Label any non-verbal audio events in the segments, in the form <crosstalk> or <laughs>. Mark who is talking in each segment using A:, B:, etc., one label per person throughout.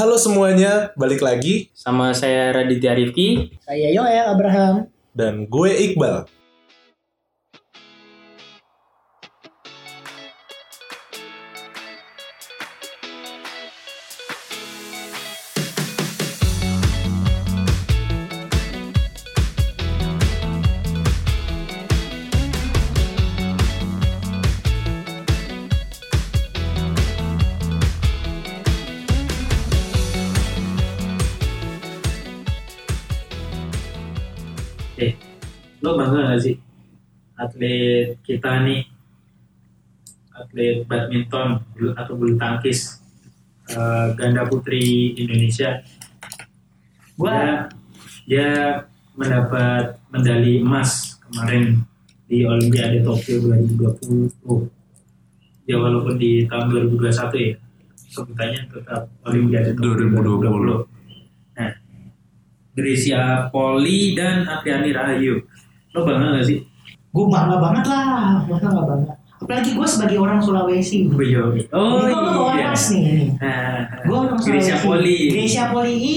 A: Halo semuanya, balik lagi
B: Sama saya Raditya Rifki.
C: Saya Yoel Abraham.
A: dan gue Iqbal.
D: Eh, lo bangga gak sih atlet kita nih atlet badminton bulu- atau bulu tangkis eh, ganda putri Indonesia gua
B: Ya.
D: dia mendapat medali emas kemarin di Olimpiade Tokyo 2020 ya walaupun di tahun 2021 ya sebutannya tetap Olimpiade Tokyo
E: 2020.
D: 2020 nah Grecia Poli dan Apriani Rahayu lo bangga gak sih?
C: Gue bangga banget lah, masa nggak bangga? Apalagi gue sebagai orang Sulawesi.
D: Gue jawab. Oh
C: Ini gue bawa
D: iya.
C: emas nih.
D: Nah,
C: Gue orang Sulawesi.
D: Grecia Poli.
C: Gresia Poli I.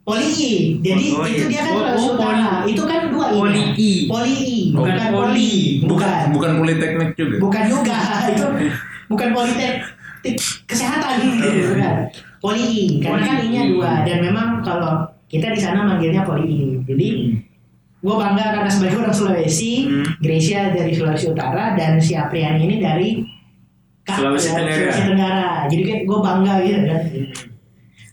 C: Poli I. Jadi
D: Oh,
C: itu
D: iya.
C: dia kan
D: Oh,
C: orang
D: oh,
C: Sulawesi.
D: Poli.
C: Itu kan dua I.
D: Poli I.
C: Poli I.
D: Bukan
C: Bukan
D: Poli.
C: Poli. Bukan.
E: bukan politeknik juga
C: Bukan juga. <laughs> Itu bukan politek kesehatan
D: Oh, iya.
C: gitu kan. Poli I. Karena
D: Poli
C: kan I-nya
D: I.
C: dua. Dan memang kalau kita di sana manggilnya Poli I. Jadi gue bangga karena sebagai orang Sulawesi,
D: Hmm.
C: Gracia dari Sulawesi Utara dan si Apriani ini dari Kak-
D: Sulawesi Tenggara.
C: Sulawesi Tenggara. Jadi gue bangga gitu kan.
D: Hmm.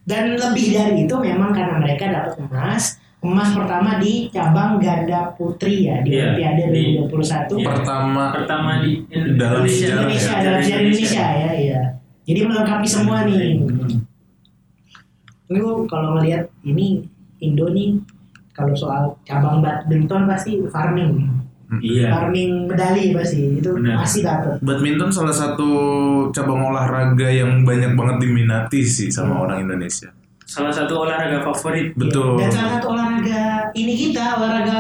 C: Dan lebih dari itu memang karena mereka dapat emas, emas pertama di cabang ganda putri ya di
D: Iya,
C: Olimpiade
D: di-
C: 2021.
D: Iya.
E: pertama
D: Pertama di in-
E: Dalam
D: Indonesia. Iya,
E: sejarah ya.
C: Indonesia, dalam sejarah Indonesia ya, iya. Jadi melengkapi semua nih.
D: Hmm,
C: Lu kalau ngelihat ini Indo nih kalau soal cabang badminton pasti farming.
D: Iya.
C: farming medali pasti itu
D: Benar.
C: pasti dapat
E: badminton salah satu cabang olahraga yang banyak banget diminati sih sama orang Indonesia
D: Salah satu olahraga favorit.
E: betul
C: dan salah satu olahraga ini kita olahraga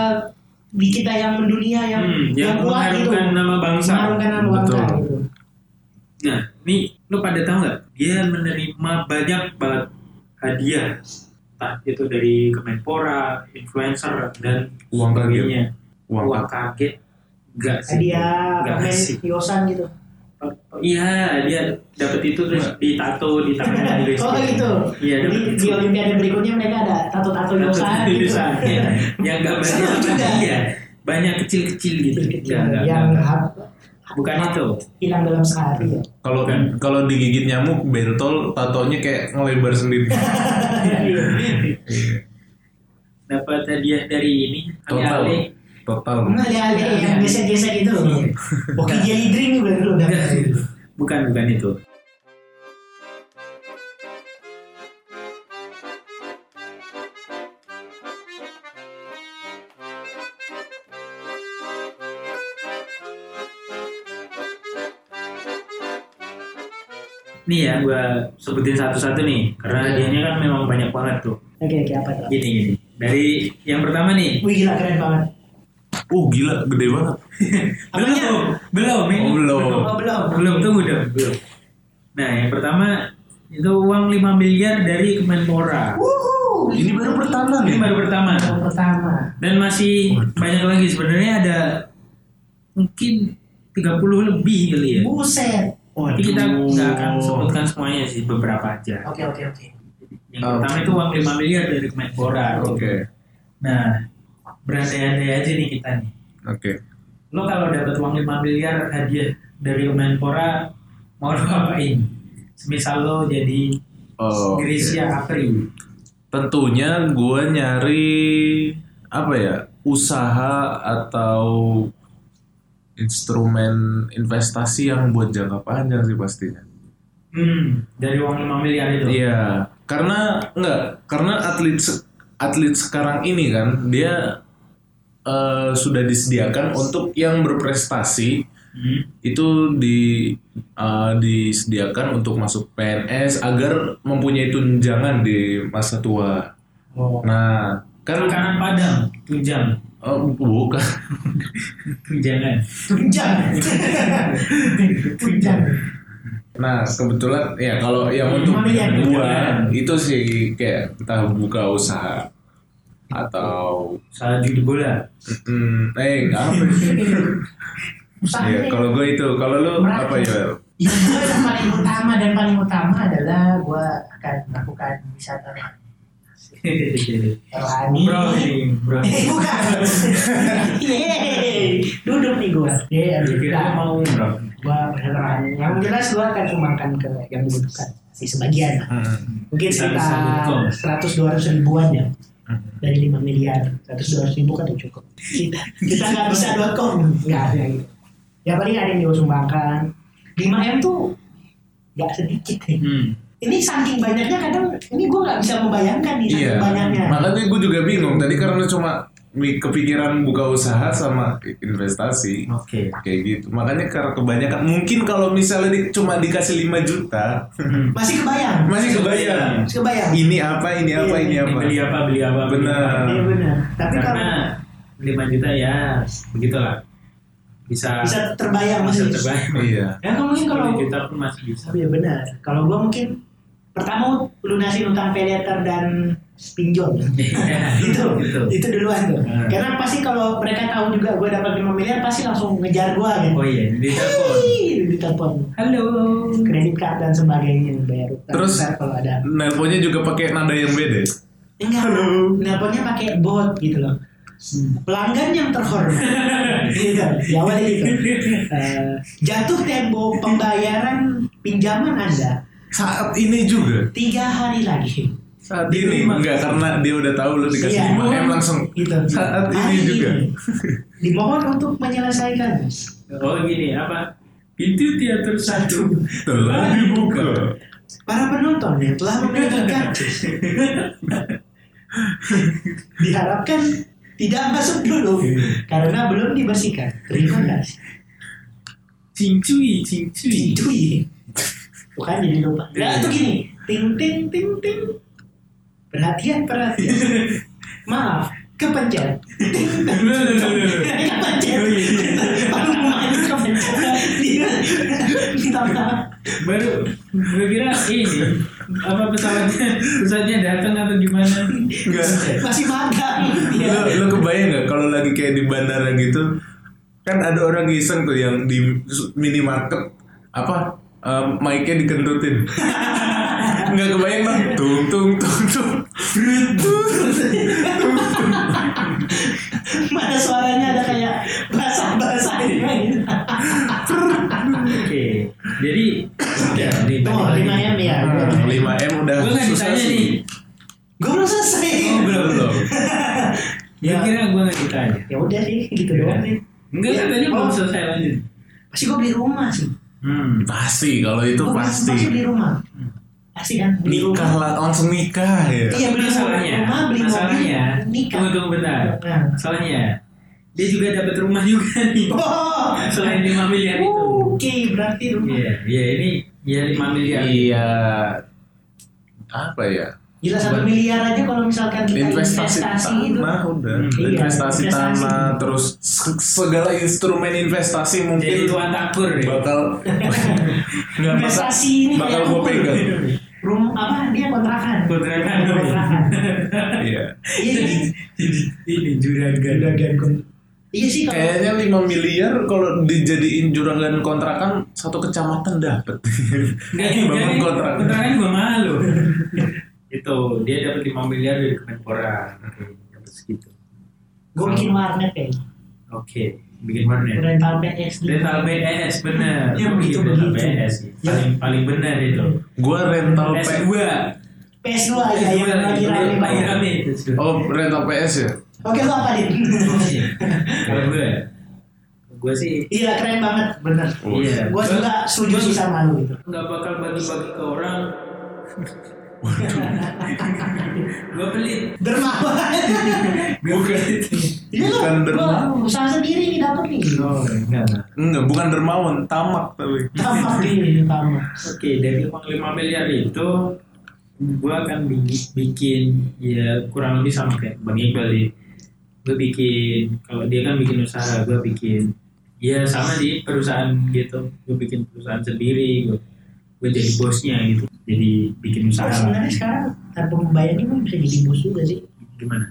C: di kita yang mendunia yang
D: Hmm, yang
C: kuat gitu
D: mengharumkan nama bangsa.
C: mengharumkan nama bangsa
E: Betul.
C: gitu
D: Nah, nih lo pada tahu nggak? Dia menerima banyak banget hadiah. Entah itu dari Kemenpora, influencer dan
E: uang kaget
D: sebagainya.
E: uang
D: Uang
E: kaget.
D: kaget. Enggak sih.
C: hadiah
D: Nggak
C: pemain
D: sih.
C: yosan gitu
D: Iya, dia dapat itu terus ditato di
C: <laughs>
D: tangannya di
C: oh gitu
D: Iya,
C: jadi
D: dapat
C: di olimpiade berikutnya mereka ada tato-tato yosan
D: Terus
C: gitu
D: tulisannya yang
C: <laughs>
D: gambarnya
C: Seru juga.
D: iya banyak kecil-kecil gitu Nggak, nggak,
C: yang
D: nggak.
C: hap-
D: bukan itu Iya.
C: hilang dalam sehari <laughs> ya
E: kalau kalau digigit nyamuk bentol tatonya kayak ngelebar sendiri
D: dapat hadiah dari ini
E: total
D: alih-alih
E: total
C: alih-alih
D: Iya.
C: yang gesek-gesek itu loh Oke, jelly drink juga dulu
D: <laughs> Nggak,
C: dapat
D: bukan bukan itu Nih ya, gue sebutin satu-satu nih, karena hadiahnya kan memang banyak banget tuh.
C: oke oke apa tuh
D: Gini gini. Dari yang pertama nih.
C: Wih gila keren banget.
E: uh gila gede banget
C: Apanya?
D: Belum, belum, ini.
E: Oh, belum.
C: Oh, belum.
D: Belum, tunggu dong, belum. Nah, yang pertama itu uang 5 miliar dari Kemenpora.
C: Wuhu.
E: ini baru pertama
D: Ini
E: nih
D: baru pertama.
C: Yang pertama.
D: Dan masih
E: Waduh.
D: banyak lagi sebenarnya ada mungkin 30 lebih kali ya.
C: Buset. Oh,
D: Tapi kita nggak akan sebutkan semuanya sih, beberapa aja.
C: Oke oke oke.
D: Yang
E: Oh.
D: pertama itu uang 5 miliar dari Kemenpora.
E: oke
D: Nah, berandai-andai aja nih kita nih.
E: oke
D: lo kalau dapat uang 5 miliar hadiah dari Kemenpora mau lo apain? Semisal lo jadi
E: Oh, oke.
D: Grecia Apri.
E: tentunya gue nyari apa ya usaha atau instrumen investasi yang buat jangka panjang sih pastinya.
D: Hmm, dari uang 5 miliar itu.
E: Iya, karena enggak karena atlet se- atlet sekarang ini kan dia eh, sudah disediakan untuk yang berprestasi
D: Hmm.
E: itu di eh, disediakan untuk masuk PNS agar mempunyai tunjangan di masa tua.
D: Oh.
E: Nah, kan
D: Makanan Padang, tunjang,
E: Oh, bukan.
C: <laughs>
D: tunjangan.
C: Tunjang. Tunjang.
E: Nah kebetulan ya kalau yang untuk
C: Mana yang
E: gua itu sih kayak entah buka usaha atau
D: Salah judi bola.
E: mm, eh nggak apa
D: Iya,
E: ya
C: Usahanya
E: kalau gue itu kalau lu apa ya
C: Ya, gue yang
D: <laughs>
C: paling utama dan paling utama adalah gue akan melakukan wisata rohani.
D: Umroh ini, umroh.
C: Eh, bukan.
D: <laughs>
C: Yeay, duduk nih gue. Iya,
D: Kira-kira lu
C: kita
D: mau umroh.
C: gue wisata rohani. Yang jelas gue akan sumbangkan ke yang dibutuhkan sih sebagian. lah.
E: Mm,
C: Mungkin
D: Bisa- bisa
C: sekitar
D: dihitung.
C: 100-200 ribuan ya
E: mm.
C: dari 5 miliar 100-200 ribu kan udah cukup kita kita nggak bisa .com nggak ada gitu ya paling ada yang gue sumbangkan 5 m tuh nggak sedikit nih
D: Hmm.
C: ini saking banyaknya kadang ini gue nggak bisa membayangkan nih saking
E: Iya,
C: banyaknya
E: makanya gue juga bingung tadi karena cuma mi- kepikiran buka usaha sama investasi
D: Oke.
E: kayak gitu. Makanya karena kebanyakan mungkin kalau misalnya di- cuma dikasih 5 juta
C: masih kebayang
D: Iya.
E: masih kebayang.
C: masih kebayang
E: Ini apa, ini apa,
C: Iya,
E: ini
D: Ini
E: apa.
D: beli apa beli apa. beli
E: Benar.
D: apa.
C: iya benar tapi kalau
D: Karena 5 juta ya begitulah. Bisa
C: bisa terbayang masih
D: bisa terbayang.
E: Iya.
C: ya kan mungkin kalau
D: 10 juta pun masih bisa.
C: tapi ya benar kalau gue mungkin pertama lunasin utang pediater dan
D: <laughs>
C: pinjol itu
D: Gitu.
C: itu duluan tuh
D: Hmm.
C: karena pasti kalau mereka tahu juga gue dapat 5 miliar pasti langsung ngejar gue gitu
D: Oh iya, di telepon.
C: Hii, ditelepon
D: Halo.
C: kredit card dan sebagainya bayar utang
E: Terus?
C: Ntar kalau ada
E: Nelponnya juga pakai nada yang beda. ya?
C: enggak nelponnya pakai bot gitu loh
D: Hmm.
C: pelanggan yang terhormat
D: <laughs>
C: gitu di awalnya gitu Eh, jatuh tempo pembayaran pinjaman anda
E: Saat ini juga.
C: tiga hari lagi
E: Saat ini
D: Diterima.
E: enggak karena dia udah tahu lu dikasih
C: Iya.
E: 5 M langsung.
C: gitu
E: Saat ini
C: Hari
E: juga.
C: dimohon untuk menyelesaikan
D: Oh gini apa? Pintu teater satu
E: Telah dibuka.
C: Para penonton yang telah memiliki karcis diharapkan tidak masuk dulu
E: Iya.
C: karena belum dibersihkan. Terima kasih.
D: Cincui, cincui.
C: Cuy. Bukan jadi lupa.
D: Iya.
C: Nah, itu gini. Ting ting ting ting. Perhatian perhatian. Maaf, kepencet.
D: <laughs>
C: Ting, ting, ting, ting. Kepencet.
D: Oh, iya.
C: Baru mau main kepencet. Dia minta maaf.
D: Baru gue kira ini apa pesawatnya pesawatnya datang atau gimana?
E: Enggak.
C: Masih magang.
E: Lo,
C: Iya.
E: lo kebayang nggak kalau lagi kayak di bandara gitu kan ada orang iseng tuh yang di su- minimarket apa um, mic-nya
D: <laughs>
E: dikentutin nggak kebayang bang tung tung tung tung
C: mana suaranya ada kayak basah basah ini
D: iya. Oke, jadi ya, nih,
C: tuh
D: balik
C: lima
D: lagi.
C: m ya
E: Nah, lima m udah
D: Gue nggak
E: Eh, susah
D: ditanya nih.
E: sih
C: gue belum selesai
D: Oh belum belum.
C: Ya.
D: Ya kira gue nggak ditanya.
C: ya udah sih gitu doang sih
D: Iya. Enggak,
C: Ya.
D: tadi belum
C: Oh.
D: selesai lanjut.
C: pasti gue beli rumah sih
D: Hmm.
E: pasti kalau itu
C: Gua
E: pasti
C: pasti beli rumah pasti kan beli
E: nikah
C: rumah.
E: lah langsung nikah ya
C: iya beli
D: masalahnya,
C: rumah beli mobil
D: masalahnya,
C: nikah
D: tunggu tunggu bentar.
C: Nah.
D: Masalahnya, dia juga dapat rumah juga nih.
C: <laughs> oh Uh.
D: Selain 5 miliar itu.
C: oke berarti rumah
D: Iya, iya ini ya 5 miliar.
E: iya apa ya
C: gila satu miliar aja kalau misalkan kita investasi,
E: investasi,
C: itu
E: tanah udah
D: Hmm.
C: Iya,
E: investasi,
C: investasi.
E: tanah terus se- segala instrumen investasi mungkin
D: Jadi tuan takur ya.
C: <laughs>
E: bakal nggak masa
C: investasi ini ya.
E: bakal
C: kayak
E: gue
C: rumah. <laughs>
E: pegang
C: rumah apa dia kontrakan
D: Kontrakan.
C: kontrakan
E: iya
C: iya
D: Jadi
C: gitu.
D: jadi ini juragan.
C: iya sih kalau
E: kayaknya 5 miliar kalau dijadiin juragan kontrakan satu kecamatan dapet bangun
D: Iya, jadi
E: kontrak
D: ya. Kontrakan gua mahal loh. <laughs> itu dia dapat 5 miliar dari Kemenpora. Oke, dapat segitu.
C: gue bikin warnet kayaknya
D: Oke, bikin warnet.
C: rental PS di
D: Rental BS bener.
C: Ya, begitu,
D: Iya, rental
C: begitu.
D: BS. Paling paling bener itu.
E: gue rental P
D: PS2.
C: PS2 aja yang lagi rame
D: Lagi
C: banget.
D: rame gitu. itu sudah.
E: oh rental PS ya
C: Oke lu apa nih?
D: <laughs> Kalau gue gue sih
C: Gila keren banget bener.
D: iya.
C: Gue juga setuju
D: gua
C: sih sama lu gitu.
D: nggak bakal bagi-bagi ke orang. gue pelit.
C: Dermawan.
D: <laughs>
E: bukan
C: Iya lu.
E: Bukan dermawan.
C: Gua usaha sendiri nih dapet nih.
D: Oh, enggak. enggak.
E: enggak bukan dermawan tamak tapi
D: <laughs>
C: Tamak nih tamak.
D: Oke, dari uang 5 miliar itu gue akan bi- bikin ya kurang lebih sama kayak Bang Iqbal sih. Gue bikin kalau dia kan bikin usaha, gue bikin ya sama sih perusahaan gitu. Gue bikin perusahaan sendiri, gue gue jadi bosnya gitu jadi bikin
C: Nah,
D: usaha
C: sebenarnya sekarang tanpa membayangin lu bisa jadi bos juga sih.
D: gimana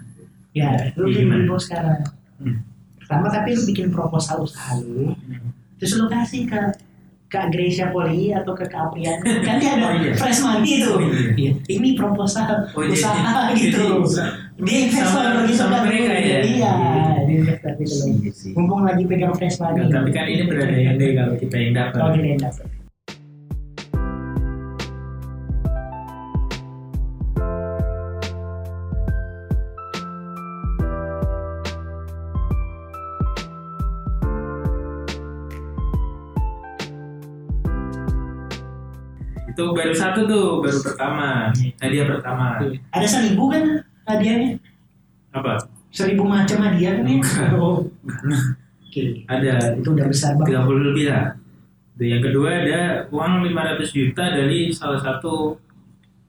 C: Ya, lu
D: Iya,
C: bisa jadi
D: gimana?
C: bos sekarang.
D: Hmm.
C: Pertama tapi lu bikin proposal usaha lu, terus lu kasih ke ke Gracia Poli atau ke
D: <laughs>
C: Kaprian. Kan dia ada
D: Oh, iya.
C: fresh money tuh.
D: Oh, iya.
C: Iya. Ini proposal
D: Oh, iya, iya.
C: usaha gitu.
D: Jadi, usaha.
C: Dia investor
D: Sama-
C: gitu
D: sama
C: kan.
D: mereka ya?
C: Iya, dia investor gitu loh.
D: Iya sih.
C: Mumpung lagi pegang fresh money.
D: Enggak, tapi kan ini berandai-andai kalau kita yang dapat
C: Kalau kita yang dapat.
D: itu baru satu tuh baru pertama hadiah pertama
C: Ada seribu kan hadiahnya?
D: apa
C: Seribu macam hadiah kan ya? Oh. Oke.
D: ada
C: Itu udah besar banget.
D: 30 lebih lah. Dan yang kedua ada uang 500 juta dari salah satu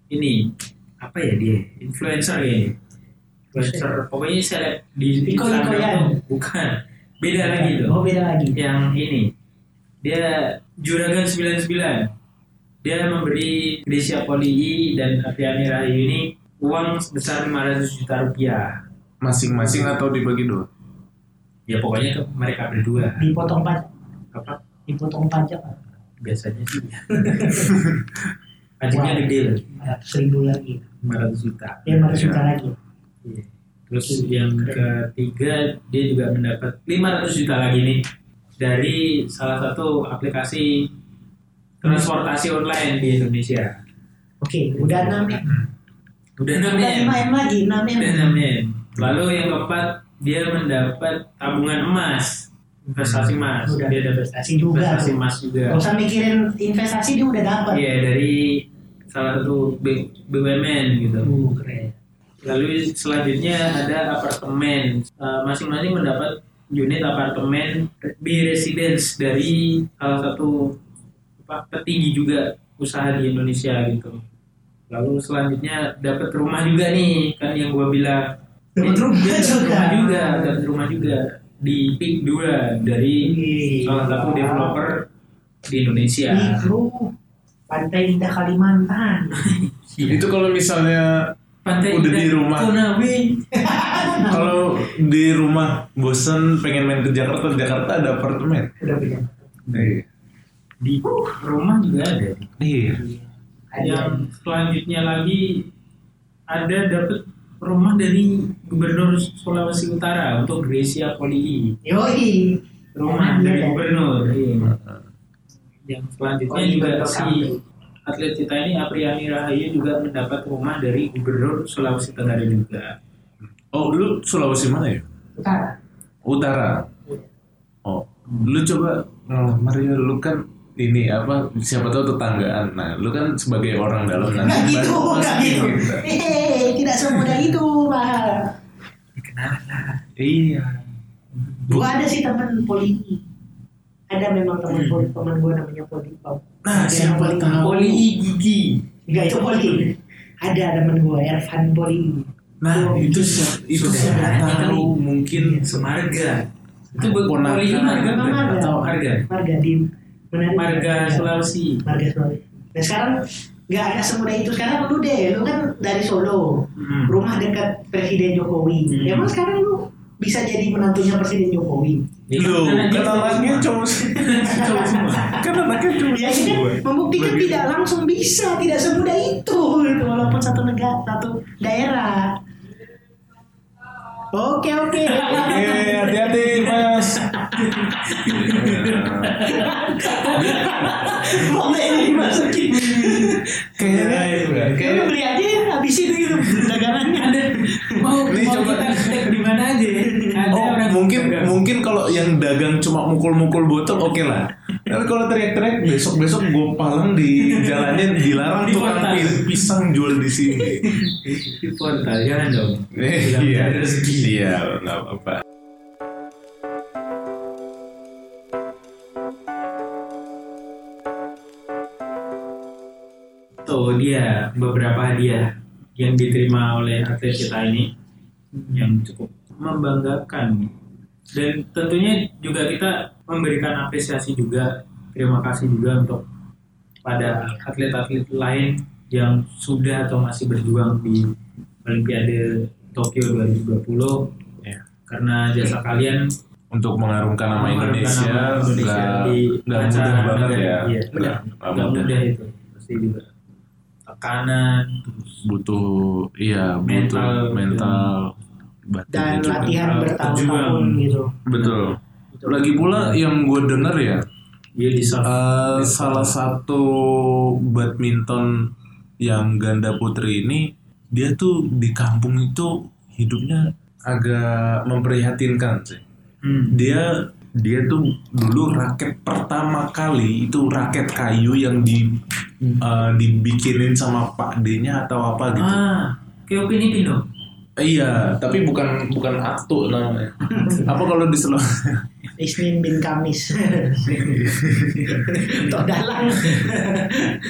D: ini apa ya dia influencer ya influencer pokoknya seleb di
C: Iko
D: Instagram
C: Ikoyan.
D: tuh. bukan beda lagi tuh Iya.
C: Oh beda lagi.
D: yang ini dia juragan 99 dia memberi Grecia Poli E dan Apriani Rahayu ini uang sebesar 500 juta rupiah
E: masing-masing atau dibagi dua
D: ya pokoknya ke mereka berdua
C: Dipotong pajak.
D: apa
C: Dipotong pajak.
D: biasanya
C: <laughs>
D: sih pajaknya gede loh
C: Ratus ribu lagi.
D: 500 juta
C: Ya lima ratus juta lagi.
D: Iya. terus yang ketiga dia juga mendapat 500 juta lagi nih dari salah satu aplikasi transportasi online di Indonesia
C: Oke, udah enam ya.
D: Iya. udah ya? 6
C: Udah
D: M
C: lima m lagi, enam m.
D: udah ya, 6 M lalu yang keempat dia mendapat tabungan emas investasi emas
C: Udah.
D: dia dapat
C: Investasi juga. Oh,
D: investasi emas juga
C: Gak usah mikirin investasi dia udah dapat.
D: iya dari salah satu B- BUMN gitu
C: Uh, keren.
D: Lalu selanjutnya ada apartemen. Eh, Masing-masing mendapat unit apartemen di residence dari salah satu apa, petinggi juga usaha di Indonesia gitu. Lalu selanjutnya dapat rumah juga nih kan yang gua bilang.
C: Dapat
D: Eh,
C: rumah
D: dia dapat
C: juga.
D: rumah juga, dapat rumah juga di PIK 2 dari
C: Wih.
D: salah satu developer di Indonesia.
C: Nih bro, Pantai Indah Kalimantan.
D: Iya.
E: itu kalau misalnya
D: Pantai
E: Iya. Udah di
D: Indah
E: rumah.
D: Konawe.
E: kalau di rumah bosen pengen main ke Jakarta Jakarta ada apartemen
C: Udah punya.
E: iya
D: Di rumah juga ada.
E: iya
C: Ada.
D: yang selanjutnya lagi ada dapat rumah dari Gubernur Sulawesi Utara untuk Gresia Poli
C: Yoi.
D: rumah
C: Iya,
D: dari
C: kan?
D: Gubernur iya. yang selanjutnya
C: Oli
D: juga
C: Gubernur
D: si
C: Kambe.
D: atlet kita ini Apriani Rahayu juga mendapat rumah dari Gubernur Sulawesi Tenggara juga
E: oh lu Sulawesi mana ya
C: Utara.
E: Utara oh lu coba ngelamar ya lu kan ini apa siapa tahu tetanggaan nah lu kan sebagai orang dalam nanti
C: Nggak gitu,
E: baru
C: nggak
E: masuk
C: gitu.
E: kita.
C: Hehehe, tidak semudah itu, Pak.
E: iya
C: Gua ada sih teman poli ada memang teman poli teman gua namanya poli Pop.
E: Nah,
C: Ada
E: siapa
C: poli-
E: tahu.
D: Poli Gigi
C: Enggak itu poli. Ada teman gua Ervan poli.
E: nah
C: Oh,
E: itu siapa itu siapa
D: Saudaranya kali.
E: tahu mungkin
D: semarga itu buat
E: Ponakan.
D: Poli marga
C: Memang
D: mana?
C: ada.
D: atau marga
C: Marga di menarik.
D: marga Sulawesi
C: Marga Sulawesi. Nah sekarang nggak ada semudah itu sekarang lu deh lu kan dari Solo
D: Hmm.
C: rumah dekat Presiden Jokowi
D: Hmm.
C: ya emang sekarang lu bisa jadi menantunya Presiden Jokowi
E: Loh,
D: Karena dia
E: kan anaknya
D: cowok
E: cowok
D: <laughs> semua. Cowok semua.
E: kan anaknya cowok
C: ya ini kan membuktikan
E: Bagi-
C: tidak langsung bisa tidak semudah itu <laughs> gitu, walaupun satu negara satu daerah oke oke Iya,
E: Oke, hati-hati mas
C: boleh dimasukin
E: kayaknya
C: Kayaknya beli aja ya, habis itu gitu dagangannya ada
D: mau
E: Ini
D: mau
E: coba.
D: kita cek di mana ya? aja
C: <laughs>
D: ada
E: Oh,
D: orang
E: mungkin mungkin kalau yang dagang cuma mukul-mukul botol oke lah. Tapi kalau teriak-teriak besok-besok gue palang di jalannya dilarang
D: Di
E: tukang
D: kota.
E: pi- pisang jual di sini.
D: di portal jangan dong
E: Eh,
D: Bilang
E: iya,
D: ada rezeki.
E: iya, nggak apa-apa.
D: tuh dia beberapa hadiah yang diterima oleh atlet kita ini yang cukup membanggakan dan tentunya juga kita memberikan apresiasi juga terima kasih juga untuk pada atlet-atlet lain yang sudah atau masih berjuang di Olimpiade Tokyo 2020
E: Iya.
D: karena jasa kalian
E: untuk mengharumkan nama
D: mengharumkan
E: Indonesia
D: nama Indonesia
E: nggak
D: di
E: nggak
D: kancah
E: mudah banget
D: negara.
E: ya
D: Iya,
E: nggak nggak
D: nggak
E: mudah
D: mudah itu pasti juga tekanan terus
E: butuh iya butuh
D: Mental.
E: mental batin
C: dan
E: juga.
C: latihan
D: Nah,
C: bertahun-tahun
D: tujuan.
C: gitu
E: betul lagi
D: Nah.
E: pula yang gue denger ya
D: dia disaf
E: eh, salah satu badminton yang ganda putri ini dia tuh di kampung itu hidupnya agak memprihatinkan sih
D: hmm.
E: dia dia tuh dulu raket pertama kali itu raket kayu yang di eh, dibikinin sama Pak D-nya atau apa gitu.
D: ah kayak opini pino
E: Iya, tapi bukan bukan aktu
D: <laughs>
E: namanya. apa kalau di Solo?
C: Isnin bin
E: <laughs>
C: Kamis Tok dalang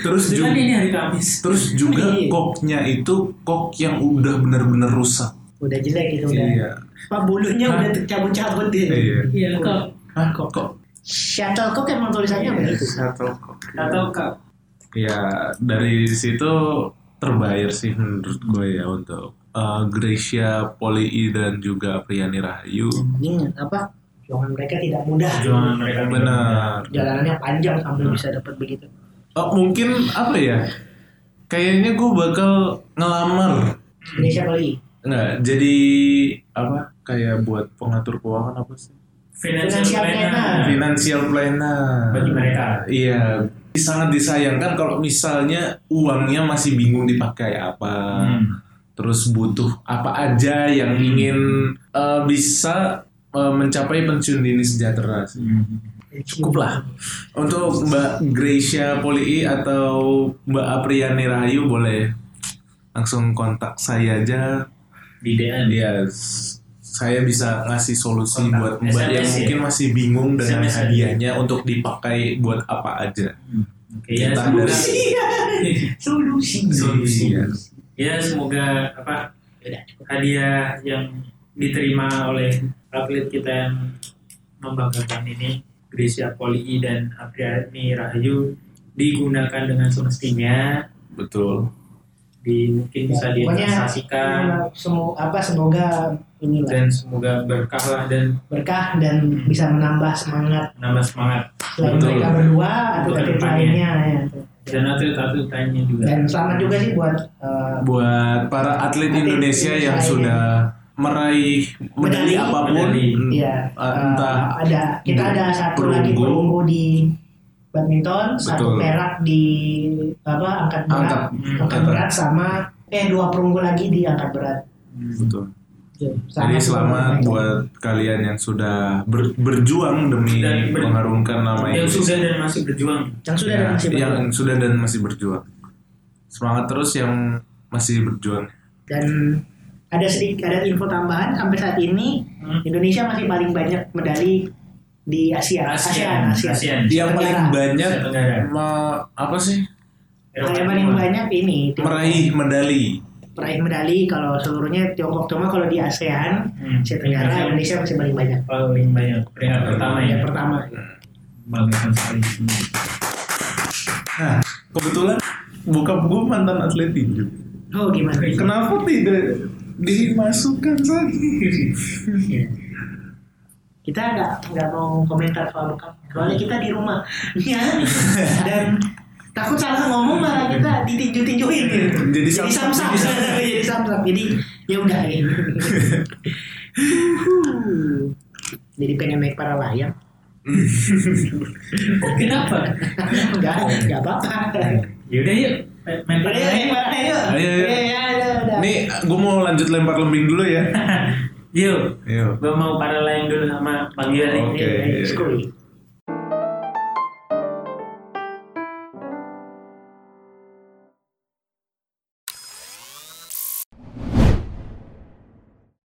E: terus
D: itu kan
E: juga
D: ini hari Kamis
E: terus juga
C: Iya.
E: koknya itu kok yang udah bener-bener rusak.
C: udah jelek gitu udah Pak bulunya
E: Hah?
C: udah tercabut-cabut gitu.
E: Kan? Iya.
D: iya kak
E: Hah, kok kok
C: Shuttlecock emang tulisannya begitu.
E: Iya. Shuttlecock.
D: atau kak
E: Ya dari situ terbayar sih menurut gue ya untuk eh, Gracia Poli dan juga Apriani Rahayu.
C: Ini apa? Jangan mereka tidak mudah.
D: perjuangan mereka
E: Benar.
C: Jalanannya panjang sampai
E: Iya.
C: bisa dapat begitu.
E: Oh, mungkin apa ya? Kayaknya gue bakal ngelamar.
C: Indonesia kali.
E: Nggak, jadi apa? Kayak buat pengatur keuangan apa sih?
D: financial
C: Financial planner.
D: planner
E: Financial planner.
D: Bagi mereka.
E: Iya. Sangat disayangkan kalau misalnya uangnya masih bingung dipakai apa.
D: Hmm.
E: Terus butuh apa aja yang ingin eh, bisa eh, mencapai pensiun dini sejahtera sih.
D: Hmm.
E: Cukup lah. Untuk Mbak Gracia Poli atau Mbak Apriani Rahayu boleh langsung kontak saya aja.
D: di DM
E: Ya, s- saya bisa ngasih solusi
D: Kontak
E: buat Mbak
D: SMS
E: yang
D: ya?
E: mungkin masih bingung dengan
D: SMS ya?
E: hadiahnya untuk dipakai buat apa aja.
D: Oke, ya
E: Kita
D: semoga
C: Solusi.
D: Solusi.
E: Iya.
D: ya semoga apa
C: Yaudah, cukup.
D: hadiah yang diterima oleh atlet kita yang membanggakan ini Gracia Poli dan Apriani Rahayu digunakan dengan semestinya
E: Betul.
D: di mungkin bisa
C: Ya, Pokoknya,
D: diinvestasikan
C: eh, semu- apa semoga inilah
D: dan semoga berkah lah dan
C: berkah dan bisa menambah semangat
D: menambah semangat
C: selain
E: Betul.
C: mereka berdua atau
D: Untuk
C: atlet
D: kedepannya.
C: lainnya ya.
D: dan atlet-atlet lainnya juga
C: Dan selamat juga sih buat eh,
E: Hmm. Buat para atlet
C: Atlet
E: Indonesia yang
C: Indonesia
E: sudah meraih medali
C: Medali.
E: apapun,
D: Medali.
E: mm,
C: Iya.
E: eh,
C: eh,
E: entah Hmm.
C: ada kita ada satu lagi
E: perunggu.
C: perunggu di badminton, satu
E: Betul.
C: perak di apa angkat berat,
E: Angkat-
C: angkat,
E: angkat
C: berat sama eh dua perunggu lagi di angkat berat.
E: betul.
C: Sama
E: Jadi
C: dua
E: selamat
C: perunggu.
E: buat kalian yang sudah ber- berjuang demi
D: Dan ber-
E: mengharumkan nama
D: yang
E: Indonesia.
D: sudah dan masih berjuang
C: yang sudah
E: Ya,
C: dan masih
E: yang
C: berjuang.
E: sudah dan masih berjuang. Semangat terus yang masih berjuang.
C: dan ada sedikit ada info tambahan sampai saat ini
D: Hmm.
C: Indonesia masih paling banyak medali di Asia
D: ASEAN
C: ASEAN ASEAN,
D: ASEAN
E: Yang paling
C: Tenggara.
E: banyak
D: Asia Tenggara.
E: me- apa sih?
D: Eropa
C: yang paling
D: Timur.
C: banyak ini Tiongkok.
E: Meraih medali.
C: peraih medali kalau seluruhnya Tiongkok cuma kalau di ASEAN
D: Hmm.
C: Asia Tenggara Indonesia masih paling banyak
D: paling banyak peringkat pertama ya
C: yang pertama
D: banggakan sekali
E: Nah, kebetulan bokap gue mantan atlet tinju.
C: oh gimana
E: Kenapa tidak dimasukkan lagi?
C: Iya. kita nggak nggak mau komentar soal lokal soalnya kita di rumah ya dan takut salah ngomong malah kita ditinju tinjuin
E: Jadi
C: sam
E: samsap.
C: sam <laughs> jadi sam sam jadi ya udah ya. Uhuh. jadi pengen naik para layang <laughs>
D: kenapa
C: nggak nggak apa-apa
D: yaudah yuk main
C: Ayo, naik
D: iya.
C: para layang
E: Ayo, ayo.
C: ayo, udah.
E: Nih, gue mau lanjut lempar lembing dulu ya.
D: yuk
E: Ayo.
D: gue mau para lain dulu sama Bang Yuri
E: Oke.
C: Ayo, ayo, school.